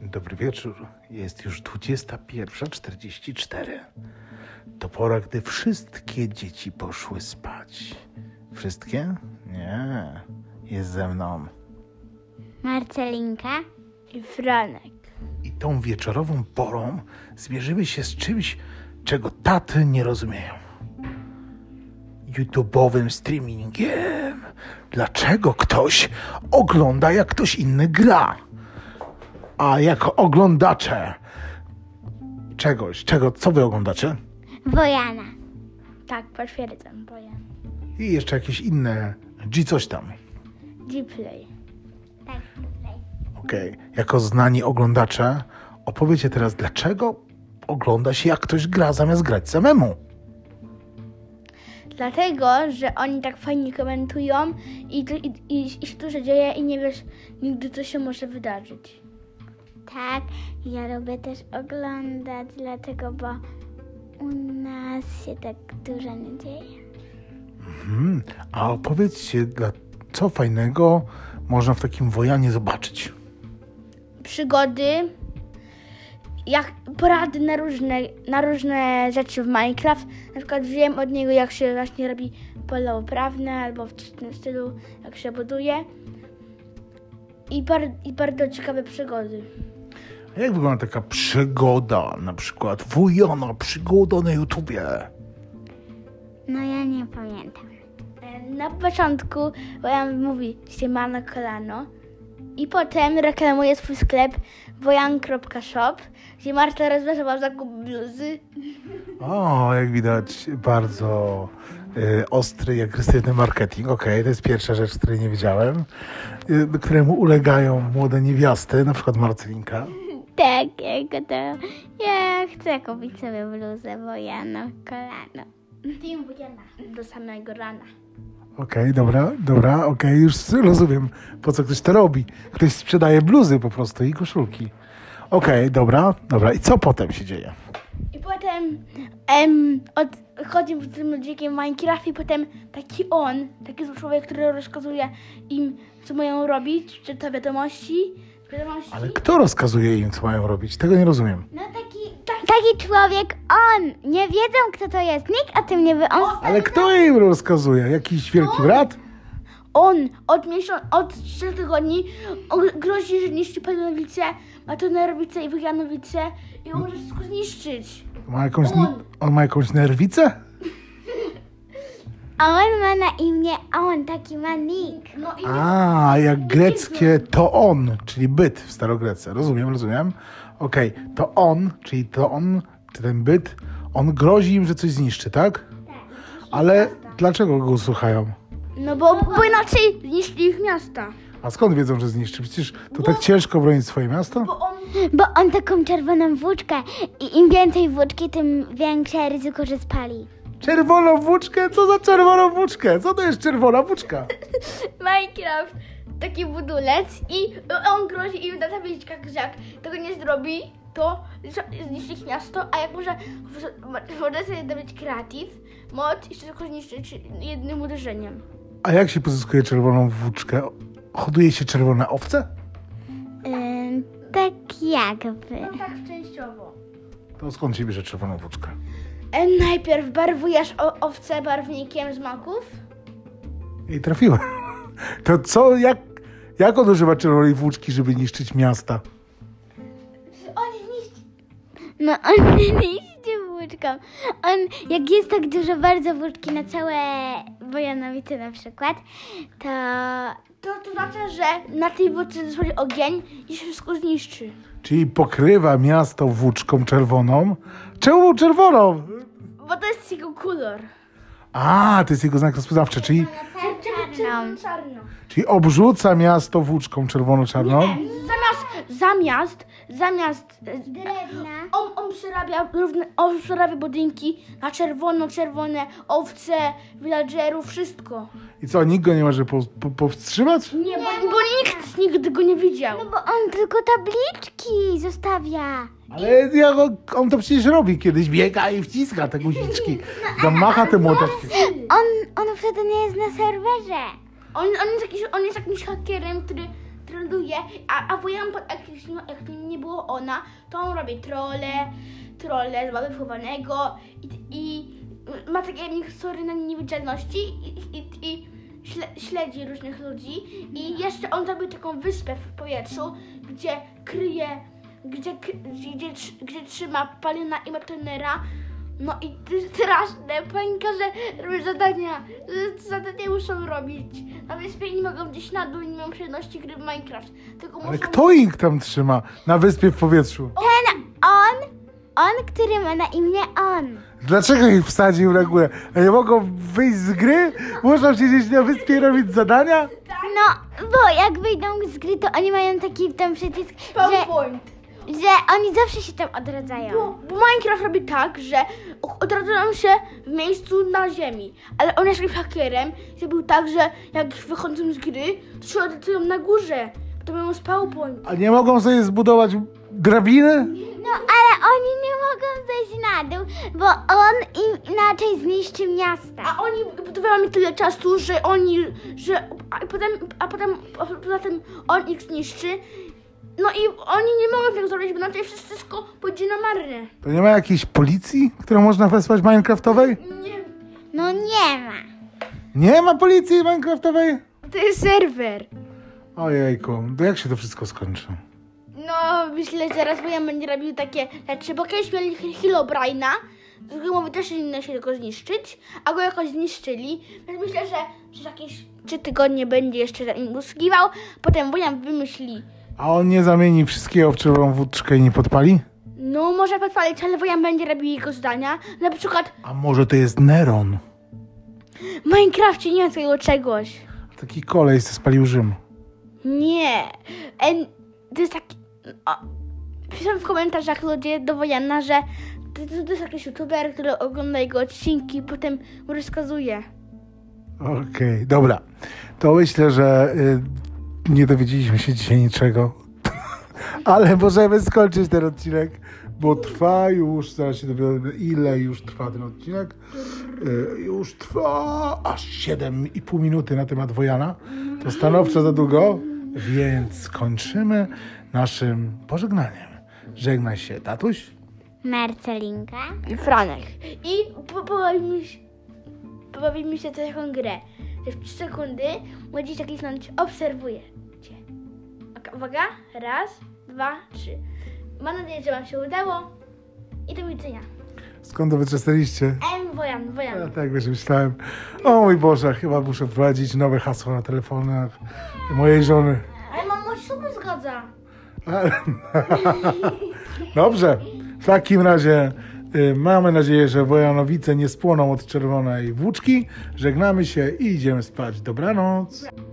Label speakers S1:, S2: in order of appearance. S1: Dobry wieczór. Jest już 21.44. To pora, gdy wszystkie dzieci poszły spać. Wszystkie? Nie. Jest ze mną.
S2: Marcelinka i Franek.
S1: I tą wieczorową porą zmierzymy się z czymś, czego taty nie rozumieją. YouTube'owym streamingiem. Dlaczego ktoś ogląda, jak ktoś inny gra? A jako oglądacze czegoś, czego, co wy oglądacie?
S2: Wojana. Tak, potwierdzam, Wojana.
S1: I jeszcze jakieś inne G coś tam.
S2: Deeplay. Tak, Deeplay.
S1: Okej, jako znani oglądacze, opowiecie teraz, dlaczego ogląda się, jak ktoś gra, zamiast grać samemu.
S2: Dlatego, że oni tak fajnie komentują i, tu- i, i, i się dużo dzieje i nie wiesz nigdy, co się może wydarzyć. Tak, ja lubię też oglądać, dlatego, bo u nas się tak dużo nie dzieje.
S1: Mm, a opowiedzcie, dla, co fajnego można w takim wojanie zobaczyć.
S2: Przygody, jak porady na różne, na różne rzeczy w Minecraft. Na przykład wiem od niego, jak się właśnie robi pole uprawne albo w tym stylu, jak się buduje. I, bar, i bardzo ciekawe przygody.
S1: A jak wygląda taka przygoda, na przykład wojana, przygoda na YouTubie?
S2: No ja nie pamiętam. Na początku Wojan mówi siemano kolano i potem reklamuje swój sklep wojan.shop, gdzie Marta rozważała zakup bluzy.
S1: O, jak widać, bardzo y, ostry i agresywny marketing. Okej, to jest pierwsza rzecz, której nie wiedziałem, y, któremu ulegają młode niewiasty, na przykład Marcelinka.
S2: Tak, ja to... Ja chcę kupić sobie bluzę wojano kolano. Team Wojana. Do samego rana.
S1: Okej, dobra, dobra, okej, już rozumiem, po co ktoś to robi. Ktoś sprzedaje bluzy po prostu i koszulki. Okej, dobra, dobra. I co potem się dzieje?
S2: I potem em, od, chodził z tym ludzikiem w Minecraft i potem taki on, taki zły człowiek, który rozkazuje im, co mają robić, czy to wiadomości, wiadomości.
S1: Ale kto rozkazuje im, co mają robić? Tego nie rozumiem.
S2: No taki, taki człowiek, on, nie wiedzą kto to jest, nikt o tym nie wie, on...
S1: Ale kto im rozkazuje? Jakiś wielki brat?
S2: On od miesiąca, od trzech tygodni o- grozi, że niszczy Panowice, Matonerowice i Wyjanowice i on może wszystko zniszczyć.
S1: Ma jakąś,
S2: On.
S1: on ma jakąś nerwicę?
S3: A on ma na imię on, taki ma nick.
S2: No i
S1: A, jak greckie to on, czyli byt w starogrece. Rozumiem, rozumiem. Okej, to on, czyli to on, czy ten byt, on grozi im, że coś zniszczy, tak? Ale dlaczego go słuchają?
S2: No bo, bo inaczej zniszczy ich miasta.
S1: A skąd wiedzą, że zniszczy? Przecież to
S2: No.
S1: tak ciężko bronić swoje miasto?
S2: Bo on
S3: Bo on taką czerwoną włóczkę i im więcej włóczki, tym większe ryzyko, że spali.
S1: Czerwoną włóczkę? Co za czerwoną włóczkę? Co to jest czerwona włóczka?
S2: Minecraft taki budulec i on grozi im na tabliczkach, że jak tego nie zrobi, to z- zniszczy ich miasto, a jak może, w- może sobie dobyć kreatyw, moc i wszystko zniszczyć jednym uderzeniem.
S1: A jak się pozyskuje czerwoną włóczkę? Hoduje się czerwone owce?
S3: Ym, tak jakby.
S2: Tak częściowo.
S1: To skąd się bierze czerwoną włóczkę?
S2: E, najpierw barwujesz o- owce barwnikiem z maków.
S1: I trafiłem. To co, jak, jak on używa czerwonej włóczki, żeby niszczyć miasta?
S2: On zniszczy.
S3: No on liście włóczką. On, jak jest tak dużo bardzo włóczki na całe Bojanowice na przykład, to...
S2: To, to znaczy, że na tej wódce zostanie ogień i się wszystko zniszczy.
S1: Czyli pokrywa miasto włóczką czerwoną. Czemu czerwoną?
S2: Bo to jest jego kolor.
S1: A, to jest jego znak rozpoznawczy, czyli,
S3: No.
S2: Czarno. Czarno.
S1: czyli obrzuca miasto włóczką czerwono-czarną.
S2: Zamiast, zamiast, zamiast. e,
S3: Drewna.
S2: On, on, przerabia, równe, on przerabia budynki na czerwono, czerwone, owce, villagerów, wszystko.
S1: I co, nikt go nie może po, po, powstrzymać?
S2: Nie, bo, bo nikt nigdy go nie widział.
S3: No Bo on tylko tabliczki zostawia.
S1: Ale jak on, on to przecież robi kiedyś, biega i wciska te guziczki. Tam macha te młoteczki.
S3: On, on wtedy nie jest na serwerze.
S2: On, on, jest, jakiś, on jest jakimś hakerem, który, który
S3: troluje, a, a wojan, pod- jak, już nie- jak nie było ona, to on robi trolle, trolle z baby wchowanego i, i ma takie mikstury na niewidzialności i, i, i, i śle, śledzi różnych ludzi i jeszcze on zrobił taką wyspę w powietrzu, gdzie kryje, gdzie, kry- gdzie, tr- gdzie trzyma Palina i Martinera. No i to jest straszne, panika, że robią zadania, że zadania muszą robić. Na wyspie nie mogą gdzieś na dół, nie mają przyjemności gry w Minecraft, tylko
S1: Ale
S3: muszą...
S1: kto ich tam trzyma na wyspie w powietrzu?
S2: Ten on, on, który ma na imię on.
S1: Dlaczego ich wsadził na górę? A nie mogą wyjść z gry? Muszą siedzieć na wyspie i robić zadania?
S2: No, bo jak wyjdą z gry, to oni mają taki tam przycisk, że,
S3: PowerPoint.
S2: że oni zawsze się tam odradzają.
S3: Bo, bo Minecraft robi tak, że o- odradzają się w miejscu na ziemi. Ale on jest takim hakerem, zrobił tak, że jak wychodzą z gry, to się odradzają na górze. To mają z PowerPoint.
S1: A nie mogą sobie zbudować drabiny?
S2: No, ale oni nie mogą zejść na dół, bo on im inaczej zniszczy miasta.
S3: A oni budowały mi tyle czasu, że oni, że, a potem, a potem, a poza tym on ich zniszczy. No i oni nie mogą tego zrobić, bo na to wszystko pójdzie na marne.
S1: To nie ma jakiejś policji, którą można wysłać Minecraftowej?
S3: Nie,
S2: No nie ma.
S1: Nie ma policji Minecraftowej?
S3: to jest serwer.
S1: Ojejku, to jak się to wszystko skończy?
S3: No, myślę, że zaraz wojan będzie robił takie rzeczy, bo kiedyś mieli Hi- Herobrine'a, z gumowy też nie da się tylko zniszczyć, a go jakoś zniszczyli, więc myślę, że przez jakieś trzy tygodnie będzie jeszcze za nim usługiwał, potem wojan wymyśli,
S1: A on nie zamieni wszystkiego w czerwoną wódczkę i nie podpali?
S3: no może podpalić, ale wojan będzie robił jego zdania, na przykład
S1: A może to jest Neron?
S3: w Minecrafcie nie ma takiego czegoś.
S1: Taki kolej co spalił Rzym.
S3: Nie, en, to jest taki... O, piszą w komentarzach ludzie do Wojana, że to, to, to jest jakiś youtuber, który ogląda jego odcinki i potem mu rozkazuje.
S1: Okej, dobra. To myślę, że y, nie dowiedzieliśmy się dzisiaj niczego. Ale możemy skończyć ten odcinek, bo trwa już, zaraz się dowiemy, ile już trwa ten odcinek. Y, już trwa aż 7,5 minuty na temat Wojana. To stanowczo za długo, więc kończymy naszym pożegnaniem. Żegnaj się, tatuś.
S2: Marcelinka?
S3: I Franek. I po- pobawimy się, pobawimy się taką grę. że W 3 sekundy młodzież jakiś kliknąć obserwuje cię. Ok, Uwaga, raz, dwa, trzy. Mam nadzieję, że wam się udało. I do widzenia.
S1: Skąd to wyczesaliście?
S3: M, Wojan, Wojan.
S1: Ja tak wiesz, myślałem, o mój Boże, chyba muszę wprowadzić nowe hasło na telefonach mojej żony.
S3: Ale mamo się super zgadza.
S1: Dobrze, w takim razie y, mamy nadzieję, że Wojanowice nie spłoną od czerwonej włóczki. Żegnamy się i idziemy spać. Dobranoc.